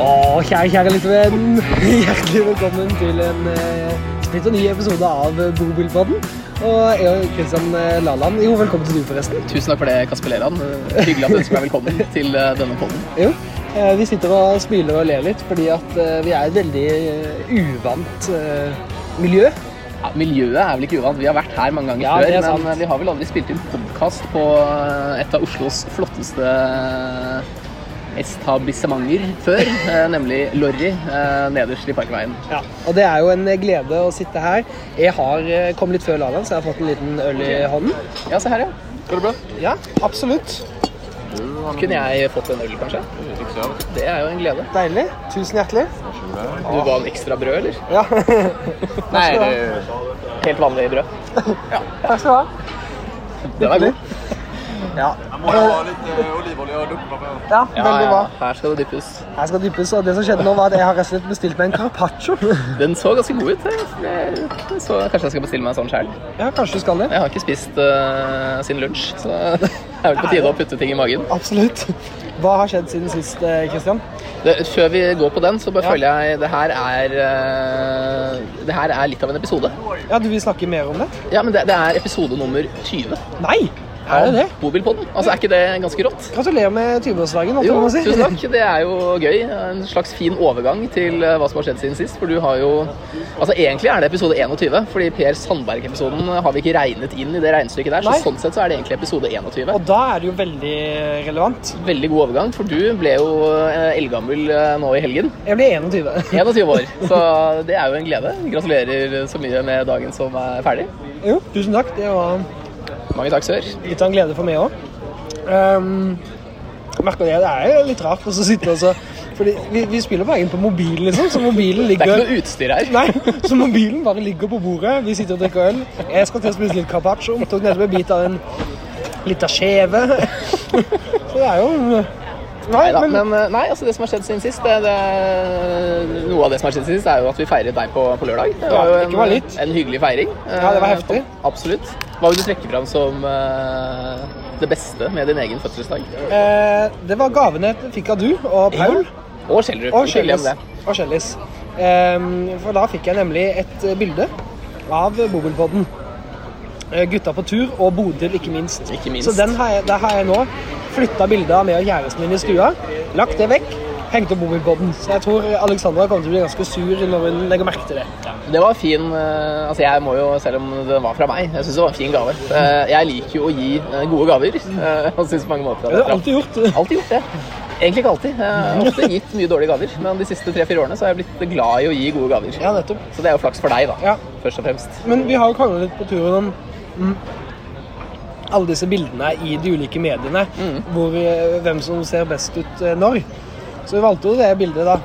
Å, kjære, kjære lyttervenn. Hjertelig velkommen til en eh, splitter ny episode av eh, Bobilpodden. Og jeg og Kristian eh, Laland Jo, velkommen til du, forresten. Tusen takk for det, Kasper Leland. Eh, Hyggelig at du ønsker meg velkommen til eh, denne podden. Jo. eh, Vi sitter og smiler og ler litt fordi at eh, vi er et veldig eh, uvant eh, miljø. Ja, miljøet er vel ikke uvant. Vi har vært her mange ganger Ja, det er før, sant. men eh, vi har vel aldri spilt inn podkast på eh, et av Oslos flotteste etablissementer før, eh, nemlig Lorry eh, nederst i Parkveien. Ja. Og det er jo en eh, glede å sitte her. Jeg har eh, kommet litt før Laland, så jeg har fått en liten øl i hånden. Ja, se her, ja. Går det bra? Ja, absolutt. Kunne jeg fått en øl, kanskje? Det er jo en glede. Deilig. Tusen hjertelig. Du ga en ekstra brød, eller? Ja. Nei, helt vanlig brød. Takk skal du ha. Den er god. Ja. Må jeg ha litt eh, olivenolje og dumpe med? ja, veldig bra. Her skal det dyppes. Jeg skal dyppes, og det som skjedde nå var at jeg har rett og slett bestilt meg en carpaccio. Den så ganske god ut. Jeg, jeg så, kanskje jeg skal bestille meg en sånn sjøl. Ja, kanskje du skal det. Jeg har ikke spist eh, siden lunsj, så det er vel på tide å putte ting i magen. Absolutt. Hva har skjedd siden sist, eh, Christian? Det, før vi går på den, så bare Ja. føler jeg det her er eh, Det her er litt av en episode. Ja, du vil snakke mer om det? Ja, men det, det er episode nummer 20 Nei! Er det det? av Bobilpodden. Altså, er ikke det ganske rått? Gratulerer med 20-årsdagen. holdt jeg Jo, på å si. tusen takk. Det er jo gøy. En slags fin overgang til eh, hva som har skjedd siden sist. For du har jo Altså, egentlig er det episode 21, fordi Per Sandberg-episoden har vi ikke regnet inn i det regnestykket der. Nei. Så sånn sett så er det egentlig episode 21. Og da er det jo veldig relevant. Veldig god overgang, for du ble jo eh, eldgammel eh, nå i helgen. Jeg blir 21. 21 år. Så det er jo en glede. Gratulerer så mye med dagen som er ferdig. Jo, tusen takk. Det var Mange takk, Sør. litt av en glede for meg òg. Um, jeg merker det, det er jo litt rart å så sitte og så Fordi vi, vi spiller bare inn på mobilen, liksom, så mobilen Det er ligger ikke noe utstyr her. Nei, så mobilen bare ligger på bordet. Vi sitter og drikker øl. Jeg skal til å spise litt carpaccio. Tok nettopp en bit av en lita skjeve. Så det er jo Nei, Neida, men men eh, nei, altså det som har skjedd siden sist det, det, Noe av det som har skjedd siden sist, er jo at vi feiret deg på, på lørdag. Det Ja, var jo ikke bare en, litt. en hyggelig feiring. Ja, det var Eh, heftig. Absolutt. Hva vil du trekke fram som eh, det beste med din egen fødselsdag? eh, det var gavene jeg fikk av du og Paul Og Schjelderup. og ikke glem Kjellis. det. Og Kjellis. Ehm, for da fikk jeg nemlig et eh, bilde av Bobilpodden. Eh, Gutta på tur og Bodil, ikke minst. Ikke minst. Så den har jeg, der har jeg nå flytta bildet av meg og kjæresten min i stua. Lagt det vekk. Hengt opp Bobilpodden. Så jeg tror Alexandra kommer til å bli ganske sur når hun legger merke til det. Det var fin eh, Altså, jeg må jo, selv om den var fra meg, jeg syns det var en fin gave. Eh, Jeg liker jo å gi eh, gode gaver. eh, Og synes på mange måter Det at har du jeg alltid gjort. Alltid gjort det. Egentlig ikke alltid. Jeg har ofte gitt mye dårlige gaver, men de siste tre-fire årene så har jeg blitt glad i å gi gode gaver. Ja, nettopp. Så det er jo flaks for deg, da. Ja. Først og fremst. Men vi har jo krangla litt på turen om mm, alle disse bildene i de ulike mediene. Mm. Hvor, eh, hvem som ser best ut eh, når. Så vi valgte jo det bildet da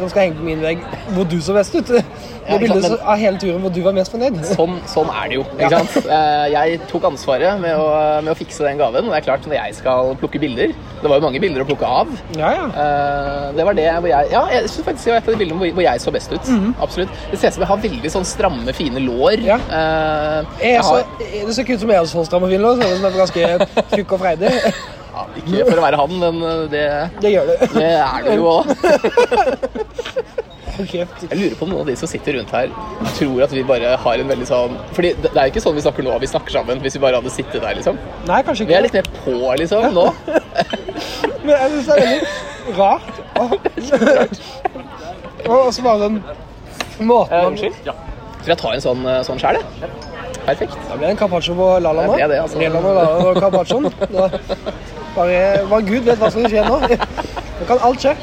som skal henge på min vegg, hvor du så best ut. Det ikke bildet sant, men- så- av hele turen hvor du var mest fornøyd. Sånn, sånn er det jo. ikke Ja. sant? Eh, Jeg tok ansvaret med å, med å fikse den gaven. Og det er klart, når jeg skal plukke bilder Det var jo mange bilder å plukke av. Ja, ja. Eh, det var det hvor jeg Ja, jeg synes faktisk det var et av de bildene hvor, hvor jeg så best ut. Absolutt. Det ser ut som jeg har veldig sånn stramme, fine lår. Mhm. Ja. Eh, Jeg er jeg så, har- det ser ikke ut som jeg er så stram og fin nå, så jeg er ganske tjukk og freidig. ja, Ikke for å være han, men eh, det, Det gjør du. det er det jo òg. Hold kjeft. Jeg lurer på om noen av de som sitter rundt her, tror at vi bare har en veldig sånn Fordi det det er jo ikke sånn vi snakker nå, vi snakker sammen hvis vi bare hadde sittet der, liksom. Nei, kanskje Vi ikke. er litt mer på, liksom, nå. Men jeg synes det er veldig rart. Og, og så bare den måten Eh, man- Unnskyld? Ja. Skal jeg ta en sånn, eh, sånn sjæl, jeg? Perfekt. Da blir det en carpaccio på Lala nå. Det blir det, altså. Lala og Lala og carpaccioen. Da- Bare, bare Gud vet hva som skjer nå. Nå kan alt skje.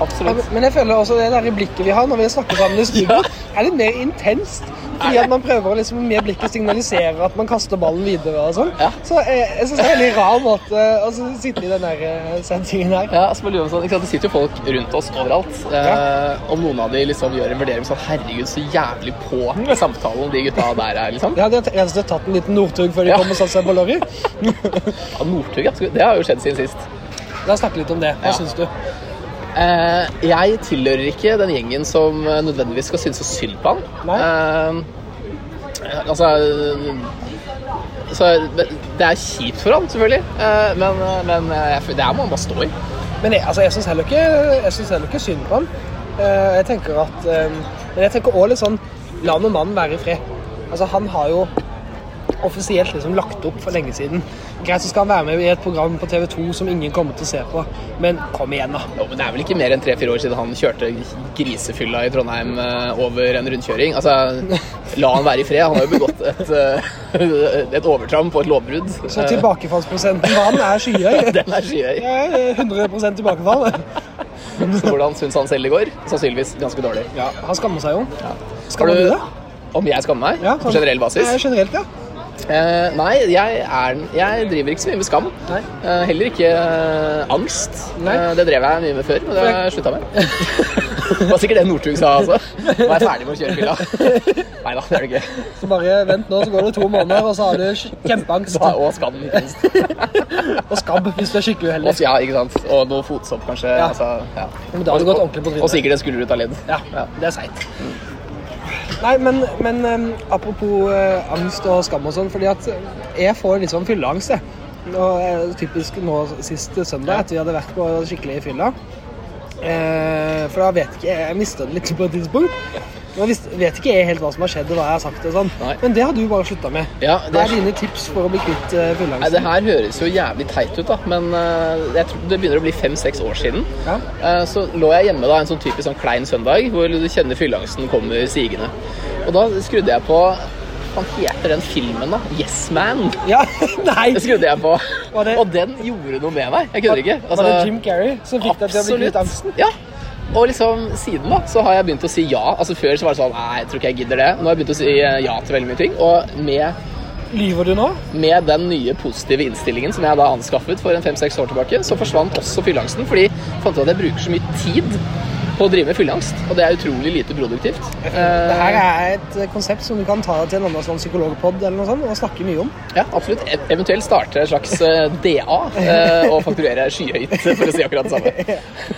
Absolutt. Men jeg føler også det der blikket vi har når vi snakker sammen i studio, er litt mer intenst. Fordi at man prøver å liksom med blikket signalisere at man kaster ballen videre og sånn. Ja. Så jeg, jeg syns det er en veldig rar måte å så sitte i den der eh, settingen her. Ja, altså, bare lurer på sånn, ikke sant? Det sitter jo folk rundt oss overalt. Eh, om noen av de liksom gjør en vurdering sånn Herregud, så jævlig på i samtalen de gutta der er, liksom. Jeg hadde rett og slett tatt en liten Northug før de Ja. kom og satte seg på lorry. Ja, Northug, ja. Det har jo skjedd siden sist. La oss snakke litt om det. Hva Ja. syns du? Eh, jeg tilhører ikke den gjengen som eh, nødvendigvis skal synes så synd på han. Nei. Eh, altså eh, eh, så det det er kjipt for han, selvfølgelig, eh, men, men eh, jeg føler- det her må han bare stå i. Men Men jeg, altså, jeg syns heller, ikke- jeg synes heller ikke synd på ham. Eh, jeg tenker at eh, Men jeg tenker også litt sånn La nå mannen være i fred. Altså, han har jo offisielt liksom lagt opp for lenge siden. Greit, så skal han være med i et program på TV 2 som ingen kommer til å se på, men kom igjen, da. Jo, men Det er vel ikke mer enn tre-fire år siden han kjørte grisefylla i Trondheim eh, over en rundkjøring. Altså, La han være i fred. Han har jo begått et, eh, et overtramp og et lovbrudd. Eh, Så tilbakefallsprosenten på han er skyhøy. Den Eh. er skyhøy. Ja, 100 tilbakefall. Så Hvordan syns han selv det går? Sannsynligvis ganske dårlig. Ja, han skammer seg jo. Har Skammer du deg? Om jeg skammer meg? Ja, på sånn- generell basis? Ja, generelt, ja. Eh, nei, jeg, er, jeg driver ikke så mye med skam. Nei. Eh, heller ikke eh, angst. Nei. Eh, det drev jeg mye med før, men det har jeg slutta med. det var sikkert det Northug sa, altså. Nå er jeg ferdig med å kjøre fylla. Nei da, det er det ikke. Så bare vent nå, så går det to måneder, og så har du sk- kjempeangst. Da, og skam, ikke minst. Og skabb, hvis du er skikkelig uheldig. Og, ja, ikke sant? og noe fotsopp, kanskje. Ja. Altså, ja. Men da har det Og- gått ordentlig på trynet. Og sikkert en skulder ut av ledd. Ja, det er seigt. Nei, men, men eh, apropos eh, angst og skam og sånn, fordi at jeg får litt sånn fylleangst, jeg. Og, eh, typisk nå sist søndag, etter vi hadde vært på skikkelig fylla. Eh, for da vet ikke jeg Jeg mista det litt på et tidspunkt. Nå vis- vet ikke jeg helt hva som har skjedd og hva jeg har sagt. og sånn Nei. Men det har du bare slutta med. Ja, Hva det, er dine tips for å bli kvitt eh, nei, det fylleangsten? her høres jo jævlig teit ut, da, men eh, jeg tror det begynner å bli fem-seks år siden. Ja. Eh, Så lå jeg hjemme da en sånn typisk sånn klein søndag, hvor du kjenner fylleangsten kommer sigende. Og da skrudde jeg på Hva faen heter den filmen, da? Yes Man! ja, nei! Det skrudde jeg på. Var det- Og den gjorde noe med meg. Jeg kødder ikke. Altså, Var det Jim Carrey som fikk deg til å bli kvitt angsten? Absolutt. Ja. Og liksom siden da, så har jeg begynt å si ja. Altså Før så var det sånn Nei, jeg tror ikke jeg gidder det. Nå har jeg begynt å si eh, ja til veldig mye ting. Og med, Lyver du nå? med den nye positive innstillingen som jeg da anskaffet for en fem-seks år tilbake, så forsvant også fylleangsten. Fordi jeg fant ut at jeg bruker så mye tid på å drive med fylleangst. Og det er utrolig lite produktivt. Det Eh, her er et eh, konsept som du kan ta til en annen sånn psykologpod eller noe sånt og snakke mye om. ja, absolutt. E- Eventuelt starte en slags eh, DA eh, og fakturere skyhøyt for å si akkurat det samme.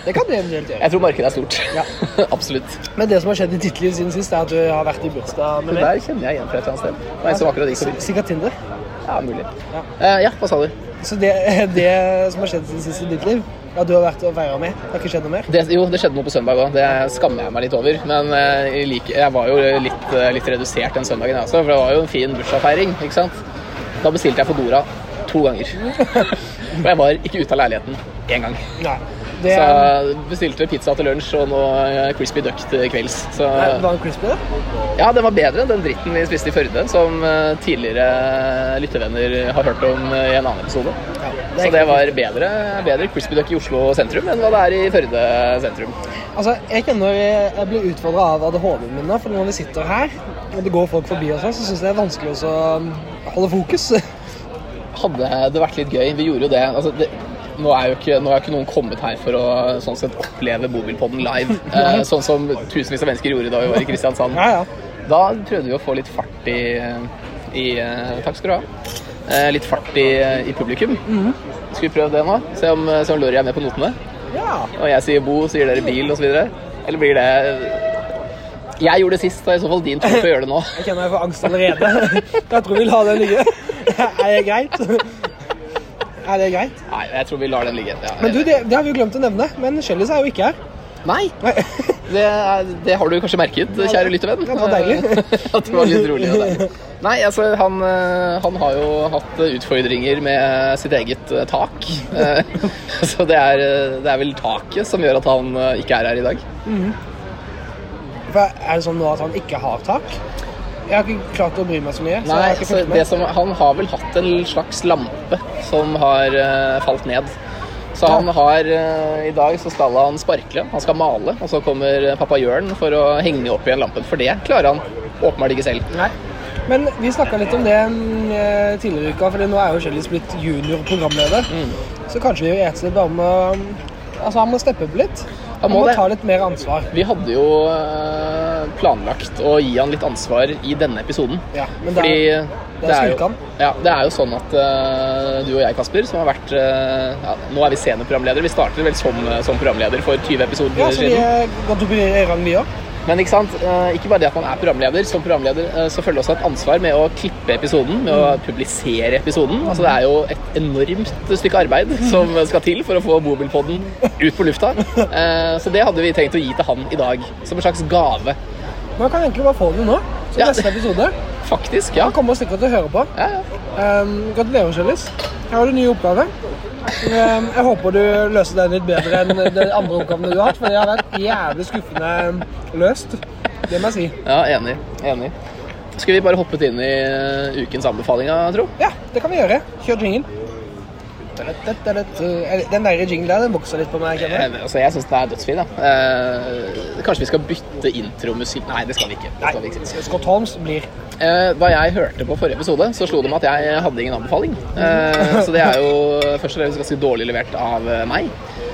Det kan du eventuelt gjøre. Jeg tror markedet er stort. Ja. absolutt. Men det som har skjedd i ditt liv siden sist, er at du har vært i bursdag med Men meg. der kjenner jeg igjen fra et eller annet sted. Det var en som akkurat gikk forbi. Sikkert Tinder. Ja, mulig. Ja. Eh, ja, hva sa du? Så det, det som har skjedd siden sist i ditt liv, er at du har vært og veia med. Det har ikke skjedd noe mer. Det, jo, det skjedde noe på søndag òg. Det skammer jeg meg litt over. Men eh, jeg, liker- jeg var jo litt, eh, litt redusert den søndagen, jeg også. For det var jo en fin bursdagsfeiring, ikke sant. Da bestilte jeg Foodora to ganger. Og jeg var ikke ute av leiligheten én gang. Nei. Det, Så er- jeg bestilte pizza til lunsj og noe eh, crispy duck til kvelds. Så Nei, det var en crispy, det. ja, den var bedre enn den dritten vi spiste i Førde, som eh, tidligere eh, lyttevenner har hørt om eh, i en annen episode. Ja, det er Så ikke- det var bedre, bedre crispy duck i Oslo sentrum enn hva det er i Førde sentrum. Altså, jeg kjenner jeg jeg blir utfordra av ADHD-en min, nå, for når vi sitter her, og det går folk forbi oss, her, så syns jeg det er vanskelig også å holde fokus. Hadde det vært litt gøy Vi gjorde jo det. Altså, det nå er jo ikke, nå er ikke noen kommet her for å sånn sett, oppleve Bobilpodden live. Eh, sånn som tusenvis av mennesker gjorde da vi var i Kristiansand. Ja, ja. Da prøvde vi å få litt fart i, i eh, Takk skal du ha. Eh, litt fart i, i publikum. Mhm. Skal vi prøve det nå? Se om, eh, se om Lorry er med på notene. ja. Og jeg sier bo, sier dere bil osv. Eller blir det eh, Jeg gjorde det sist, da er i så fall din tur til å gjøre det nå. Jeg kjenner jeg får angst allerede. Jeg tror vi lar den ligge. Er det greit? Er det greit? Nei, jeg tror vi lar den ligge. Ja, Men du, det, det har vi jo glemt å nevne, men Shellis er jo ikke her. Nei, Nei. det, er, det har du kanskje merket, kjære lyttevenn. Ja, det var deilig. At det var litt rolig og deilig. Nei, altså, han, eh, han har jo hatt eh, utfordringer med sitt eget eh, tak. Eh, Så det er, eh, det er vel taket som gjør at han eh, ikke er her i dag. For er det sånn nå at han ikke har tak? Jeg har ikke klart å bry meg så mye. Så jeg Nei, har ikke altså, fulgt det med. som, han har vel hatt en slags lampe som har eh, falt ned. Så han har eh, I dag så skal han sparkle, han skal male, og så kommer pappa Jørn for å henge opp igjen lampen. For det klarer han åpenbart ikke selv. Nei. Men vi snakka litt om det mm, eh, tidligere i uka, for nå er jo Shellis blitt junior-programleder. Mm. Så kanskje vi i et sted bare må Altså, han må steppe opp litt. Han må må det. ta litt mer ansvar. Vi hadde jo eh, planlagt å gi han litt ansvar i denne episoden. Ja, men det Fordi er- det er jo, skulkan. ja, det er jo sånn at eh, du og jeg, Kasper, som har vært eh, ja, Nå er vi eh, seniorprogramledere. Vi startet vel som, som programleder for 20 episoder Ja, så vi eh, siden. er godt opp i rang, vi òg. Men ikke sant, eh, ikke bare det at man er programleder, som programleder eh, så følger det også et ansvar med å klippe episoden, med Mm. å publisere episoden. Altså det er jo et enormt stykke arbeid Mm. som skal til for å få Bobilpodden ut på lufta. Eh, Så det hadde vi tenkt å gi til han i dag, som en slags gave. Man kan egentlig bare få det nå. Så Ja. neste episode Faktisk, ja. kan komme og stikke til å høre på. Ja, ja. Ehm, gratulerer, Kjellis. Her har du en ny oppgave. Ehm, jeg håper du løser den litt bedre enn de andre oppgavene du har hatt, for det har vært jævlig skuffende løst. Det må jeg si. Ja, enig. Enig. Skal vi bare hoppet inn i eh, ukens anbefalinger, tro? Ja, det kan vi gjøre. Kjør jingle. Den der jinglen der, den vokser litt på meg. Eh, kjenner jeg. Altså, jeg syns den er dødsfin. Da. Eh, kanskje vi skal bytte intromusikk Nei, det skal vi ikke. Det skal vi ikke. Nei, Scott Holmes blir Eh, da jeg hørte på forrige episode, så slo det meg at jeg hadde ingen anbefaling. Eh, så det er jo først og fremst ganske dårlig levert av eh, meg.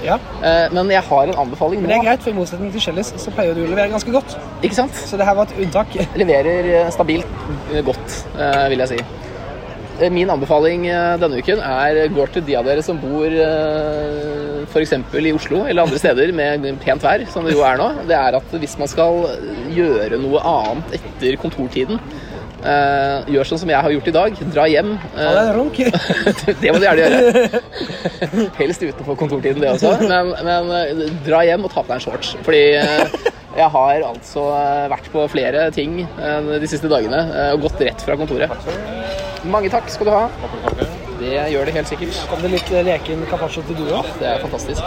Ja. Eh, men jeg har en anbefaling Men det nå. er greit, for i motsetning til Kjellis så pleier du å levere ganske godt. Ikke sant? Så det her var et unntak. leverer eh, stabilt eh, godt, eh, vil jeg si. Eh, Min anbefaling eh, denne uken er eh, går til de av dere som bor eh, for eksempel i Oslo eller andre steder med pent vær, som det jo er nå. Det er at hvis man skal gjøre noe annet etter kontortiden, eh, gjør sånn som jeg har gjort i dag. Dra hjem. eh, Ja, det er en runk. det må du gjerne gjøre. Helst utenfor kontortiden, det også. Men, men eh, dra hjem og ta på deg en shorts. Fordi eh, jeg har altså eh, vært på flere ting eh, de siste dagene eh, og gått rett fra kontoret. Mange takk skal du ha. Det gjør det helt sikkert. Kom det litt leken capaccio til du òg? Det er fantastisk.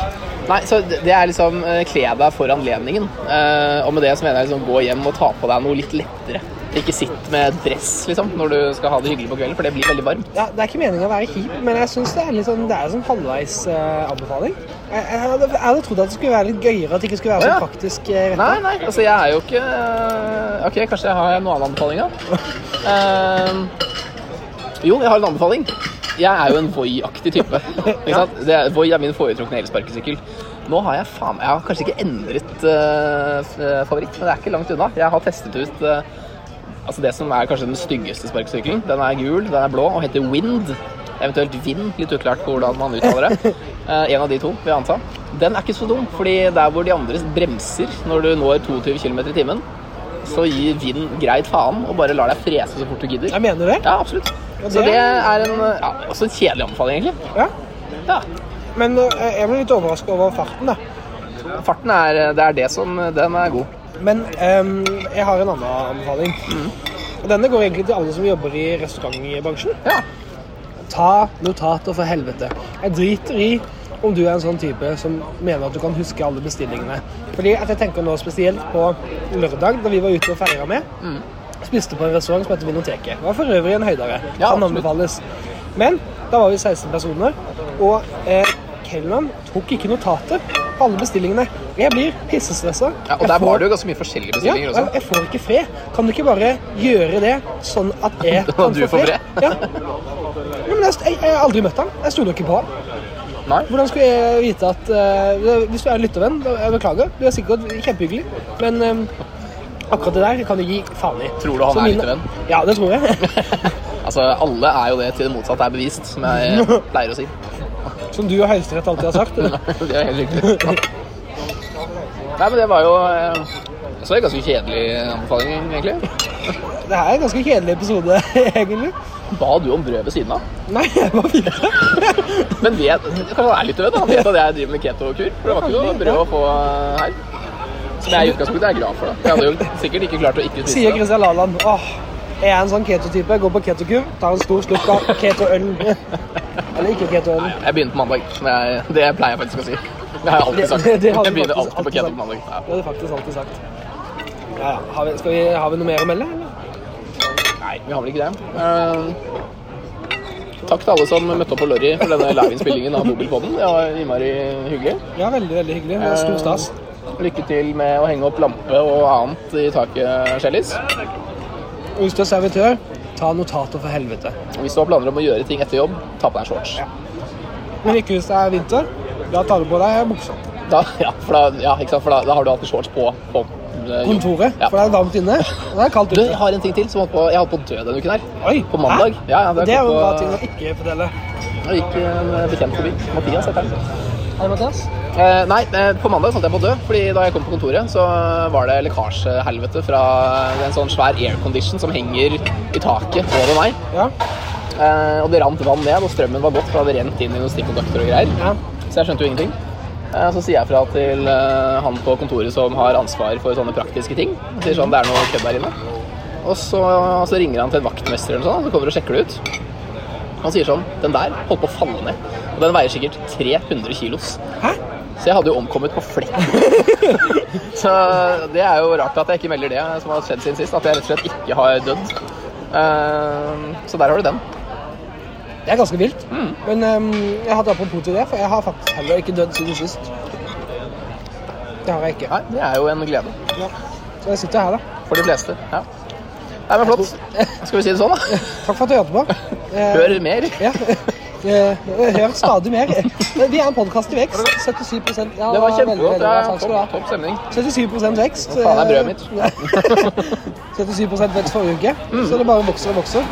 Nei, så det det er liksom eh, kle deg for anledningen. Eh, og med det så mener jeg liksom gå hjem og ta på deg noe litt lettere. Ikke sitt med dress liksom når du skal ha det hyggelig på kvelden, for det blir veldig varmt. Ja, det er ikke meningen å være kjip, men jeg syns det er litt sånn, det er en sånn halvveis eh, anbefaling. Jeg, jeg, hadde, jeg hadde trodd at det skulle være litt gøyere, at det ikke skulle være så Ja. praktisk eh, rett. Nei, nei, altså jeg er jo ikke eh, Ok, kanskje jeg har en annen anbefaling, da. Ehm, jo, jeg har en anbefaling. Jeg er jo en Voi-aktig type. Ikke sant? Det er, Voi er min foretrukne elsparkesykkel. Nå har jeg faen meg Jeg har kanskje ikke endret eh, f- favoritt, men det er ikke langt unna. Jeg har testet ut eh, altså det som er kanskje den styggeste sparkesykkelen. Den er gul, den er blå og heter Wind. Eventuelt Vind, litt uklart hvordan man uttaler det. Eh, en av de to, vil jeg anta. Den er ikke så dum, fordi der hvor de andre bremser når du når 22 km i timen, så gir Vind greit faen og bare lar deg frese så fort du gidder. Jeg mener det. Ja, absolutt. Ja, Så det- det er en, ja, også en kjedelig anbefaling, egentlig. Ja. Ja. Men eh, jeg ble litt overraska over farten, da. Farten er det, er det som Den er god. Men ehm, jeg har en annen anbefaling. Og denne går egentlig til alle som jobber i restaurantbransjen. Ja. Ta notater, for helvete. Jeg driter i om du er en sånn type som mener at du kan huske alle bestillingene. Fordi at jeg tenker nå spesielt på lørdag, da vi var ute og feira med. Spiste på en restaurant som heter Vinoteket. Det var for øvrig en høydere. Ja, kan absolutt. anbefales. Men da var vi 16 personer, og eh, kelneren tok ikke notater på alle bestillingene. Jeg blir pissestressa. ja og Jeg der får- var det jo ganske mye forskjellige ja, bestillinger jeg, også. jeg får ikke fred. Kan du ikke bare gjøre det sånn at jeg Da kan du få får fred? fred. Ja. Ja, men jeg, jeg, jeg har aldri møtt han. Jeg stoler ikke på han. Nei. Hvordan skulle jeg vite at eh, Hvis du er en lyttervenn, da- jeg beklager. Du er sikkert kjempehyggelig, men eh, akkurat det der kan du gi faen i. Tror du han Så er min- lyttervenn? Ja, det tror jeg. Altså, alle er jo det til det motsatte er bevist, som jeg pleier å si. Som du og Høyesterett alltid har sagt. Det er helt riktig. Nei, men det var jo eh, Så er det ganske kjedelig anbefaling, egentlig. Det her er en ganske kjedelig episode, egentlig. Ba du om brød ved siden av? Nei, jeg bare videre. Men vet, kanskje han er litt redd? da. Han vet at jeg driver med keto-kur? For det var ikke noe brød å få eh, her. Som jeg i utgangspunktet er glad for. da. Jeg hadde jo sikkert ikke klart å ikke spise Sier det. Kristian Laland. Åh, jeg er en sånn keto-type. Går på ketokur, tar en stor slurk av keto-øl. Eller ikke keto-øl. Jeg begynner på mandag. men Jeg, det pleier jeg faktisk å si. Det har jeg alltid sagt. Det- det har du Jeg begynner faktisk alltid på alltid sagt. keto på mandag. Ja. Det har du faktisk alltid sagt. Ja, ja. Har vi, skal vi, har vi noe mer å melde, eller? Nei, vi har vel ikke det. Eh, takk til alle som møtte opp på Lorry for denne liveinnspillingen av Mobilpodden. Det var innmari hyggelig. Ja, veldig, veldig hyggelig. Det er Stor stas. Eh, Lykke til med å henge opp lampe og annet i taket, Shellis. Eh, Og Hvis du er servitør, ta notater for helvete. Og Hvis du har planer om å gjøre ting etter jobb, ta på deg en shorts. Men ikke hvis det er vinter. Da tar du på deg buksa. Da, ja, for da, ja, ikke sant? For da, da har du alltid shorts på. på eh, jobb. Kontoret, Ja. for det er varmt inne. Og det er kaldt Du, jeg ute. har en ting til som holdt på, jeg holdt på å dø denne uken her. Oi, På mandag. hæ? Ja, ja, det er jo en bra ting kommet å ikke fortelle. eh, på- Det gikk en bekjent forbi. Mathias heter han. Hei, Mathias. Eh, nei, eh, på mandag holdt jeg på å dø, fordi da jeg kom på kontoret, så var det lekkasjehelvete fra en sånn svær aircondition som henger i taket over meg. Ja. Eh, og det rant vann ned, og strømmen var gått, for det hadde rent inn i noen stikkontakter og greier. ja. Så jeg skjønte jo ingenting. Eh, Så sier jeg fra til eh, han på kontoret som har ansvar for sånne praktiske ting. Han sier sånn, det er noe kødd der inne. Og så, så ringer han til en vaktmester eller noe sånt, og så kommer og sjekker det ut. Han sier sånn, den der holdt på å falle ned. Og den veier sikkert 300 kilos. Hæ? Så jeg hadde jo omkommet på flekken. så det er jo rart at jeg ikke melder det som har skjedd siden sist, at jeg rett og slett ikke har dødd. Eh, Så der har du den. Det er ganske vilt. Mm. Men ehm, jeg hadde apropos til det, for jeg har faktisk heller ikke dødd siden sist. Det har jeg ikke. Nei, det er jo en glede. Ja. Så jeg sitter her, da. For de fleste. Ja. Nei, men flott. Skal vi si det sånn, da? Takk for at du hørte på. Eh, Hør mer. Ja. Eh, Hør stadig mer. Vi er en podkast i vekst. 77 ja, Det var veldig, veldig kjempegodt. bra. Ja, Takk skal du topp, ha. topp stemning. 77 vekst. eh, Hva faen er brødet mitt? mitt? 77 vekst forrige uke, Mm. så det bare vokser og vokser.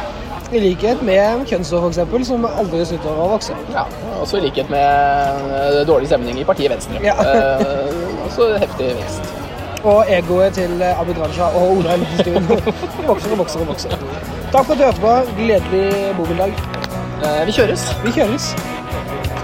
I likhet med kjønnsår, f.eks., som aldri slutter å vokse. Ja, Også i likhet med eh, dårlig stemning i partiet Venstre. Ja. Eh, også heftig vekst. Og egoet til eh, Abid Raja og Ola Elvestuen vokser og vokser og vokser. Takk for at du hørte på. Gledelig bobildag. Eh, vi kjøres. Vi kjøres.